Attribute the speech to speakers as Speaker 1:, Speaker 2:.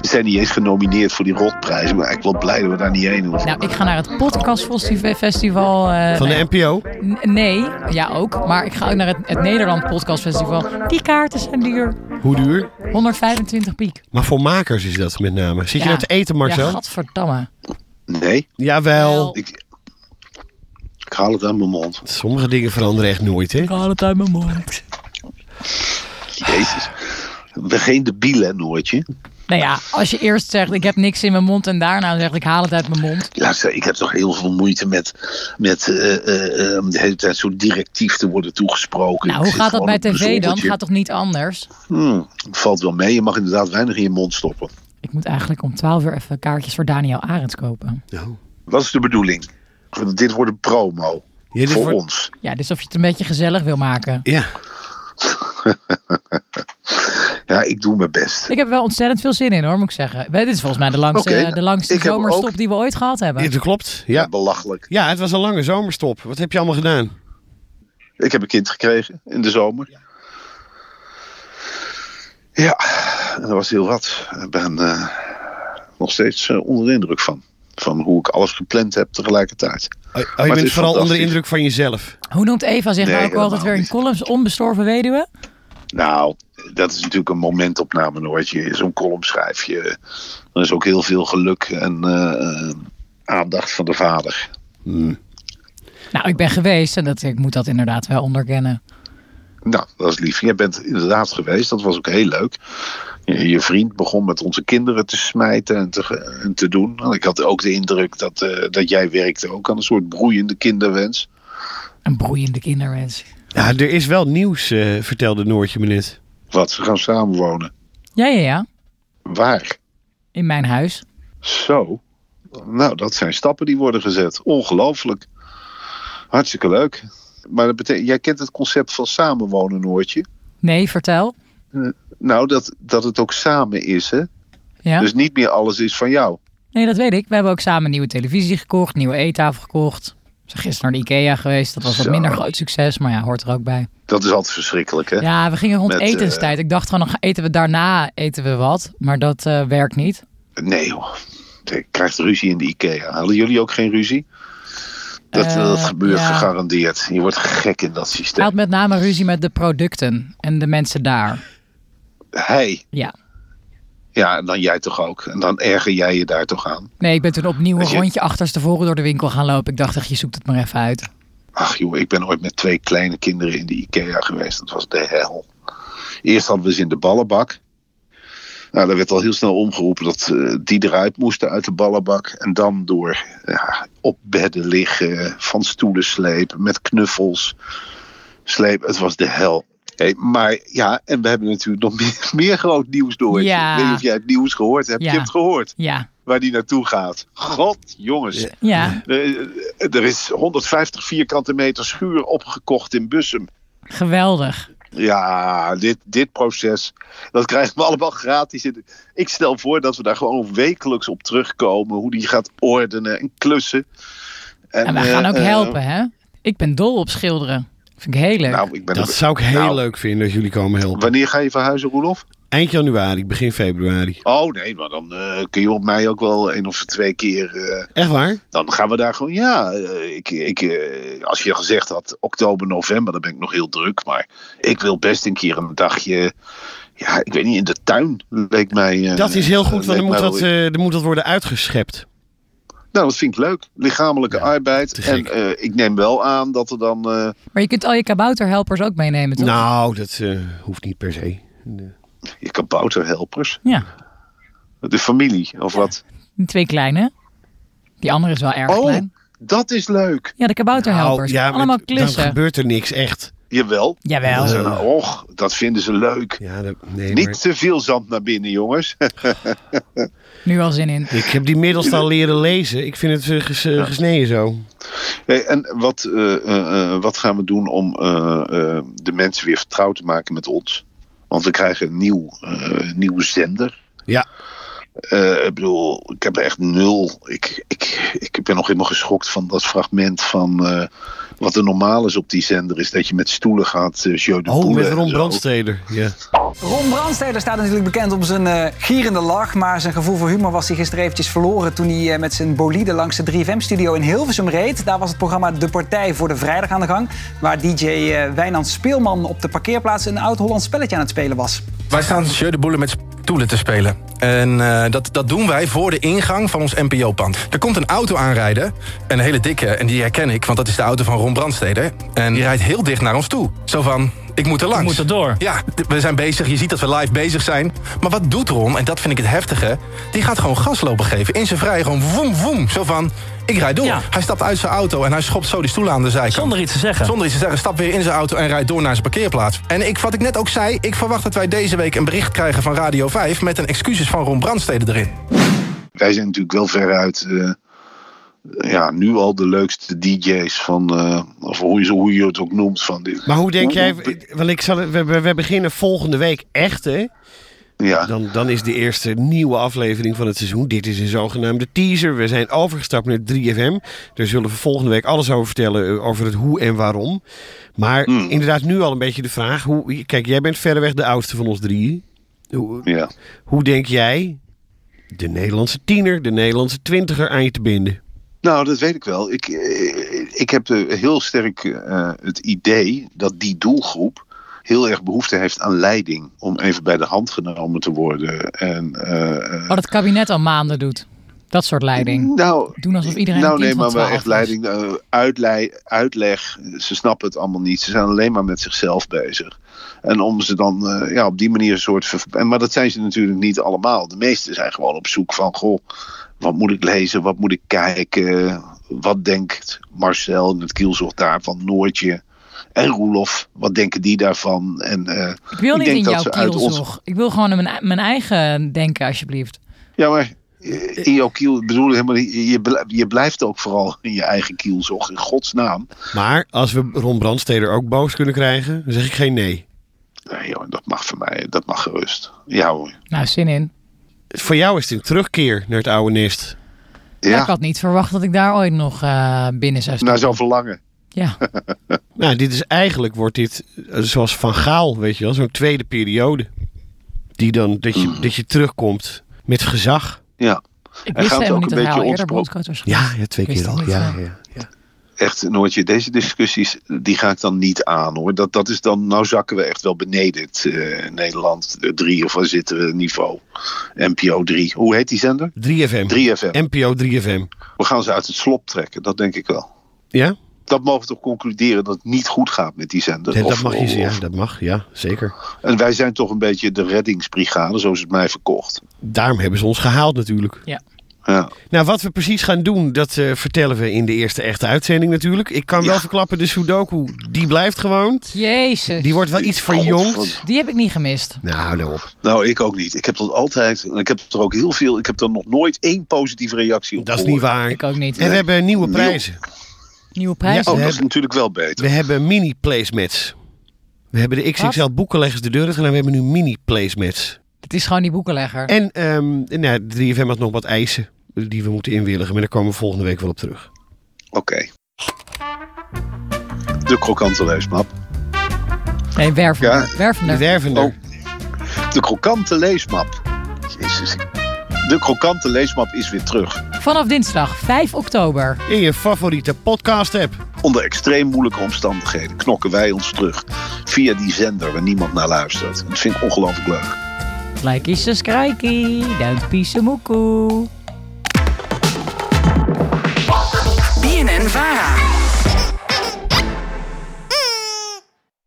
Speaker 1: zijn niet eens genomineerd voor die rotprijs. Ik ben eigenlijk wel blij dat we daar niet heen hoeven.
Speaker 2: Nou, ik ga naar het podcastfestival. eh,
Speaker 3: Van de
Speaker 2: nee.
Speaker 3: NPO?
Speaker 2: N- Nee, ja ook. Maar ik ga ook naar het, het Nederland podcastfestival. Die kaarten zijn duur.
Speaker 3: Hoe duur?
Speaker 2: 125 piek.
Speaker 3: Maar voor makers is dat met name. Zit je nou te eten,
Speaker 2: Ja,
Speaker 3: Marcel?
Speaker 2: gadverdamme. Nou.
Speaker 1: Nee,
Speaker 3: Jawel.
Speaker 1: ik, ik haal het uit mijn mond.
Speaker 3: Sommige dingen veranderen echt nooit, hè?
Speaker 2: Ik haal het uit mijn mond.
Speaker 1: Jezus. Ik ben geen debiel, hè, Noortje?
Speaker 2: Nou ja, als je eerst zegt ik heb niks in mijn mond en daarna zegt ik haal het uit mijn mond.
Speaker 1: Luister, ik heb toch heel veel moeite met, met eh, eh, eh, de hele tijd zo directief te worden toegesproken.
Speaker 2: Nou,
Speaker 1: Ik
Speaker 2: hoe
Speaker 1: zit
Speaker 2: gaat dat
Speaker 1: gewoon
Speaker 2: bij
Speaker 1: op een
Speaker 2: tv dan?
Speaker 1: zoldertje.
Speaker 2: Gaat toch niet anders?
Speaker 1: Hmm, valt wel mee. Je mag inderdaad weinig in je mond stoppen.
Speaker 2: Ik moet eigenlijk om 12 uur even kaartjes voor Daniel Arends kopen.
Speaker 1: Wat is de bedoeling? Dit wordt een promo.
Speaker 3: Ja, dit
Speaker 1: voor
Speaker 3: wordt-
Speaker 1: ons.
Speaker 2: Ja, dus of je het een beetje gezellig wil maken.
Speaker 3: Ja.
Speaker 1: Ja, ik doe mijn best.
Speaker 2: Ik heb er wel ontzettend veel zin in hoor, moet ik zeggen. Dit is volgens mij de langste,
Speaker 1: Oké,
Speaker 2: de langste
Speaker 1: ik heb
Speaker 2: zomerstop
Speaker 1: ook-
Speaker 2: die we ooit gehad hebben.
Speaker 3: Ja, Dat klopt. Ja.
Speaker 1: Belachelijk.
Speaker 3: ja, het was een lange zomerstop. Wat heb je allemaal gedaan?
Speaker 1: Ik heb een kind gekregen in de zomer. Ja, en dat was heel wat. Ik ben eh, nog steeds eh, onder de indruk van. Van hoe ik alles gepland heb tegelijkertijd.
Speaker 3: Oh, Oh,
Speaker 1: het
Speaker 3: je bent
Speaker 1: is
Speaker 3: vooral onder de
Speaker 1: fantastisch.
Speaker 3: indruk van jezelf.
Speaker 2: Hoe noemt Eva zich
Speaker 1: Nee,
Speaker 2: nou ook
Speaker 1: helemaal
Speaker 2: altijd weer in
Speaker 1: niet.
Speaker 2: columns onbestorven weduwe?
Speaker 1: Nou, dat is natuurlijk een momentopname Noortje. Zo'n column schrijf je. Er is ook heel veel geluk en eh, eh, aandacht van de vader. Mm.
Speaker 2: Nou, ik ben geweest en dat, ik moet dat inderdaad wel onderkennen.
Speaker 1: Nou, dat is lief. Jij bent inderdaad geweest. Dat was ook heel leuk. Je, je vriend begon met onze kinderen te smijten en te, ge- en te doen. Want Ik had ook de indruk dat, eh, dat jij werkte ook aan een soort broeiende kinderwens.
Speaker 2: Een broeiende kinderwens.
Speaker 3: Ja, er is wel nieuws, eh, vertelde Noortje me net.
Speaker 1: Wat, ze gaan samenwonen.
Speaker 2: Ja, ja, ja.
Speaker 1: Waar?
Speaker 2: In mijn huis.
Speaker 1: Zo. Nou, dat zijn stappen die worden gezet. Ongelooflijk. Hartstikke leuk. Maar dat betekent, jij kent het concept van samenwonen, Noortje.
Speaker 2: Nee, vertel.
Speaker 1: Nou, dat, dat het ook samen is, hè?
Speaker 2: Ja.
Speaker 1: Dus niet meer alles is van jou.
Speaker 2: Nee, dat weet ik. We hebben ook samen een nieuwe televisie gekocht, nieuwe eettafel gekocht. We zijn gisteren naar de Ikea geweest. Dat was wat
Speaker 1: Zo.
Speaker 2: minder groot succes, maar ja, hoort er ook bij.
Speaker 1: Dat is altijd verschrikkelijk, hè?
Speaker 2: Ja, we gingen rond
Speaker 1: Met, eh,
Speaker 2: etenstijd. Ik dacht gewoon, dan eten we daarna eten we wat. Maar dat eh, werkt niet.
Speaker 1: Nee joh. Ik krijg ruzie in de IKEA. Hadden jullie ook geen ruzie? Dat,
Speaker 2: Eh,
Speaker 1: dat gebeurt
Speaker 2: ja.
Speaker 1: gegarandeerd. Je wordt gek in dat
Speaker 2: Hij
Speaker 1: systeem.
Speaker 2: had met name ruzie met de producten en de mensen daar.
Speaker 1: Hij.
Speaker 2: Ja.
Speaker 1: Ja, en dan jij toch ook. En dan erger jij je daar toch aan.
Speaker 2: Nee, ik ben toen opnieuw een
Speaker 1: Weet je-
Speaker 2: rondje achterstevoren door de winkel gaan lopen. Ik dacht echt, je zoekt het maar even uit.
Speaker 1: Ach joh, ik ben ooit met twee kleine kinderen in de IKEA geweest. Dat was de hel. Eerst hadden we ze in de ballenbak. Nou, daar werd al heel snel omgeroepen dat eh, die eruit moesten uit de ballenbak. En dan door ja, op bedden liggen, van stoelen slepen, met knuffels slepen. Het was de hel. Hé, maar ja, en we hebben natuurlijk nog meer, meer groot nieuws door.
Speaker 2: Ja.
Speaker 1: Ik weet niet of jij het nieuws gehoord hebt.
Speaker 2: Ja.
Speaker 1: Je hebt gehoord
Speaker 2: Ja,
Speaker 1: waar die naartoe gaat. God, jongens.
Speaker 2: ja,
Speaker 1: Eh, Er is 150 vierkante meter schuur opgekocht in Bussum.
Speaker 2: geweldig.
Speaker 1: Ja, dit, dit proces, dat krijgen we allemaal gratis. in. Ik stel voor dat we daar gewoon wekelijks op terugkomen. Hoe die gaat ordenen en klussen.
Speaker 2: En wij gaan
Speaker 1: eh,
Speaker 2: ook
Speaker 1: eh,
Speaker 2: helpen, hè? Ik ben dol op schilderen. Vind ik heel leuk.
Speaker 1: nou, ik ben
Speaker 3: Dat
Speaker 1: er-
Speaker 3: zou ik heel
Speaker 1: Nou,
Speaker 3: leuk vinden dat jullie komen helpen.
Speaker 1: Wanneer ga je verhuizen, Roelof?
Speaker 3: Eind januari, begin februari.
Speaker 1: Oh nee, maar dan eh, kun je op mij ook wel één of twee keer... eh,
Speaker 3: Echt waar?
Speaker 1: dan gaan we daar gewoon... Ja, eh, ik, ik, eh, als je gezegd had oktober, november, dan ben ik nog heel druk. Maar ik wil best een keer een dagje... Ja, ik weet niet, in de tuin leek mij... eh,
Speaker 3: Dat is heel goed, want er
Speaker 1: leek
Speaker 3: moet
Speaker 1: mij wel
Speaker 3: wat, eh, er moet wat worden uitgeschept.
Speaker 1: Nou, dat vind ik leuk. Lichamelijke arbeid.
Speaker 3: te
Speaker 1: En
Speaker 3: gek.
Speaker 1: eh, ik neem wel aan dat er dan. eh,
Speaker 2: Maar je kunt al je kabouterhelpers ook meenemen, toch?
Speaker 3: Nou, dat eh, hoeft niet per se.
Speaker 1: je kabouterhelpers.
Speaker 2: Ja,
Speaker 1: De familie of wat.
Speaker 2: die twee kleine. Die andere is wel erg
Speaker 1: Oh,
Speaker 2: klein.
Speaker 1: dat is leuk.
Speaker 2: Ja, de kabouterhelpers.
Speaker 3: Nou, ja, maar
Speaker 2: Allemaal
Speaker 3: d- Dan
Speaker 2: klussen.
Speaker 3: gebeurt er niks, echt.
Speaker 1: Jawel.
Speaker 2: Jawel.
Speaker 1: Dat is een- Och, dat vinden ze leuk.
Speaker 3: Ja, dat, nee, maar-
Speaker 1: Niet te veel zand naar binnen, jongens.
Speaker 2: Nu al zin in.
Speaker 3: Ik heb die middels al leren lezen. Ik vind het eh, ges- eh, gesneden zo.
Speaker 1: Hey, en wat, eh, eh, eh, wat gaan we doen om eh, eh, de mensen weer vertrouwd te maken met ons? Want we krijgen een nieuw, eh, nieuwe zender.
Speaker 3: Ja.
Speaker 1: Eh, ik bedoel, ik heb echt nul. Ik, ik, ik ben nog helemaal geschokt van dat fragment van eh, Wat er normaal is op die zender is dat je met stoelen gaat, eh, jeu de
Speaker 3: Oh,
Speaker 1: poule
Speaker 3: met
Speaker 1: en
Speaker 3: Ron
Speaker 1: zo.
Speaker 3: Brandsteder. Ja.
Speaker 4: Ron Brandsteder staat natuurlijk bekend om zijn eh, gierende lach. Maar zijn gevoel voor humor was hij gisteren eventjes verloren. toen hij eh, met zijn bolide langs de 3FM-studio in Hilversum reed. Daar was het programma De Partij voor de Vrijdag aan de gang. Waar DJ eh, Wijnand Speelman op de parkeerplaats een oud-Hollands spelletje aan het spelen was.
Speaker 5: Wij staan Jeu de Boelen met stoelen te spelen. En eh, dat, dat doen wij voor de ingang van ons NPO-pand. Er komt een auto aanrijden, een hele dikke, en die herken ik... want dat is de auto van Ron Brandsteder. En die rijdt heel dicht naar ons toe. Zo van, ik moet er langs.
Speaker 6: moet er door.
Speaker 5: Ja, d- we zijn bezig, je ziet dat we live bezig zijn. Maar wat doet Ron, en dat vind ik het heftige... die gaat gewoon gas lopen geven, in zijn vrije, gewoon woem, woem. Zo van, ik rijd door.
Speaker 6: Ja.
Speaker 5: Hij stapt uit zijn auto en hij schopt zo die stoelen aan de zijkant.
Speaker 6: Zonder iets te zeggen.
Speaker 5: Zonder iets te zeggen, stap weer in zijn auto en rijdt door naar zijn parkeerplaats. En ik, wat ik net ook zei, ik verwacht dat wij deze week een bericht krijgen van Radio 5 met een excuses van Ron Brandstede erin.
Speaker 1: Wij zijn natuurlijk wel veruit, eh, ja, nu al de leukste DJ's van, eh, of hoe je, ze- hoe je het ook noemt. Van dit.
Speaker 3: Maar hoe denk jij... Want ik zal, we, we we beginnen volgende week echt, hè?
Speaker 1: Ja.
Speaker 3: Dan, dan is de eerste nieuwe aflevering van het seizoen. Dit is een zogenaamde teaser. We zijn overgestapt naar 3FM. Daar zullen we volgende week alles over vertellen. eh, Over het hoe en waarom. Maar inderdaad, nu al een beetje de vraag. Hoe, kijk, jij bent verreweg de oudste van ons drieën. Hoe,
Speaker 1: ja.
Speaker 3: hoe denk jij de Nederlandse tiener, de Nederlandse twintiger aan je te binden?
Speaker 1: Nou, dat weet ik wel. Ik, eh, ik heb eh, heel sterk eh, het idee dat die doelgroep heel erg behoefte heeft aan leiding. Om even bij de hand genomen te worden. En, eh, eh,
Speaker 2: Wat het kabinet al maanden doet. Dat soort leiding.
Speaker 1: nou,
Speaker 2: Doen alsof iedereen
Speaker 1: nou
Speaker 2: een kind dus-
Speaker 1: nee, maar
Speaker 2: van
Speaker 1: wel
Speaker 2: 12
Speaker 1: echt
Speaker 2: is.
Speaker 1: leiding, eh, uitlei- uitleg. Ze snappen het allemaal niet. Ze zijn alleen maar met zichzelf bezig. En om ze dan eh, ja, op die manier een soort... ver- en- Maar dat zijn ze natuurlijk niet allemaal. De meesten zijn gewoon op zoek van... Goh, wat moet ik lezen? Wat moet ik kijken? Wat denkt Marcel in het kielzocht daarvan? Noortje en Roelof, wat denken die daarvan? En, eh,
Speaker 2: Ik wil
Speaker 1: ik
Speaker 2: niet
Speaker 1: denk
Speaker 2: in
Speaker 1: dat
Speaker 2: jouw
Speaker 1: ze uit ons-
Speaker 2: kielzog. Ik wil gewoon in mijn, mijn eigen denken, alsjeblieft.
Speaker 1: Ja, maar eh, in jouw kiel bedoel ik helemaal niet. Je, bl- je blijft ook vooral in je eigen kielzog, in godsnaam.
Speaker 3: Maar als we Ron Brandsteder ook boos kunnen krijgen, dan zeg ik geen nee.
Speaker 1: Nee, joh, dat mag voor mij, dat mag gerust. Ja hoor.
Speaker 2: Nou, zin in.
Speaker 3: Voor jou is het een terugkeer naar het oude nest.
Speaker 2: Maar
Speaker 1: Ja, Nou,
Speaker 2: Ik had niet verwacht dat ik daar ooit nog eh, binnen zou staan.
Speaker 1: naar zo'n verlangen.
Speaker 2: Ja,
Speaker 3: Nou, dit is eigenlijk wordt dit eh, zoals Van Gaal, weet je wel, zo'n tweede periode. Die dan, dat je, dat je terugkomt met gezag.
Speaker 1: Ja,
Speaker 2: ik
Speaker 1: gaat
Speaker 2: wist helemaal
Speaker 1: ook
Speaker 2: niet
Speaker 1: een
Speaker 2: dat hij al
Speaker 1: beetje ontspro-
Speaker 2: eerder bondscoach was geweest.
Speaker 3: twee
Speaker 2: Wist ik niet, ja.
Speaker 1: echt Noortje, deze discussies, die ga ik dan niet aan hoor. Dat, dat is dan, nou zakken we echt wel beneden het eh, Nederland 3 of waar zitten we niveau? NPO 3. Hoe heet die zender?
Speaker 3: 3FM.
Speaker 1: 3FM.
Speaker 3: NPO 3FM.
Speaker 1: We gaan ze uit het slop trekken, dat denk ik wel.
Speaker 3: Ja?
Speaker 1: Dat mogen we toch concluderen dat het niet goed gaat met die zender?
Speaker 3: Nee, dat
Speaker 1: Of-
Speaker 3: mag je
Speaker 1: of-
Speaker 3: zeggen. Ja, dat mag. Ja, zeker.
Speaker 1: En wij zijn toch een beetje de reddingsbrigade, zo is het mij verkocht.
Speaker 3: Daarom hebben ze ons gehaald natuurlijk.
Speaker 2: Ja.
Speaker 1: Ja.
Speaker 3: Nou, wat we precies gaan doen, dat eh, vertellen we in de eerste echte uitzending natuurlijk. Ik kan wel
Speaker 1: Ja.
Speaker 3: verklappen, de Sudoku, die blijft gewoon.
Speaker 2: Jezus.
Speaker 3: Die wordt wel iets verjongd.
Speaker 1: Godver-
Speaker 2: Die heb ik niet gemist.
Speaker 3: Nou, nou op.
Speaker 1: Nou, ik ook niet. Ik heb dat altijd, en ik heb er ook heel veel, ik heb er nog nooit één positieve reactie op
Speaker 3: Dat is niet
Speaker 1: gehoord.
Speaker 3: waar.
Speaker 2: Ik ook niet.
Speaker 3: En we hebben nieuwe
Speaker 1: Nieuw.
Speaker 3: prijzen.
Speaker 2: Nieuwe prijs.
Speaker 3: Ja,
Speaker 1: Oh, dat is
Speaker 3: hebben-
Speaker 1: natuurlijk wel beter.
Speaker 3: We hebben mini placemats. We hebben de XXL
Speaker 2: Wat?
Speaker 3: boekenleggers de deur gedaan. We hebben nu mini placemats.
Speaker 2: Het is gewoon die boekenlegger.
Speaker 3: En ehm nou, 3FM had nog wat eisen die we moeten inwilligen. Maar daar komen we volgende week wel op terug.
Speaker 1: Oké. De krokante leesmap.
Speaker 2: Nee, wervender.
Speaker 1: Ja.
Speaker 3: De
Speaker 2: wervender.
Speaker 3: wervender.
Speaker 1: Oh. De krokante leesmap. Jezus. De krokante leesmap is weer terug.
Speaker 2: Vanaf dinsdag 5 oktober.
Speaker 3: In je favoriete podcast app.
Speaker 1: Onder extreem moeilijke omstandigheden knokken wij ons terug. Via die zender waar niemand naar luistert. Dat vind ik ongelooflijk leuk.
Speaker 2: Like is een skrijkie, duimt piece moekoe.
Speaker 7: BNN Vara.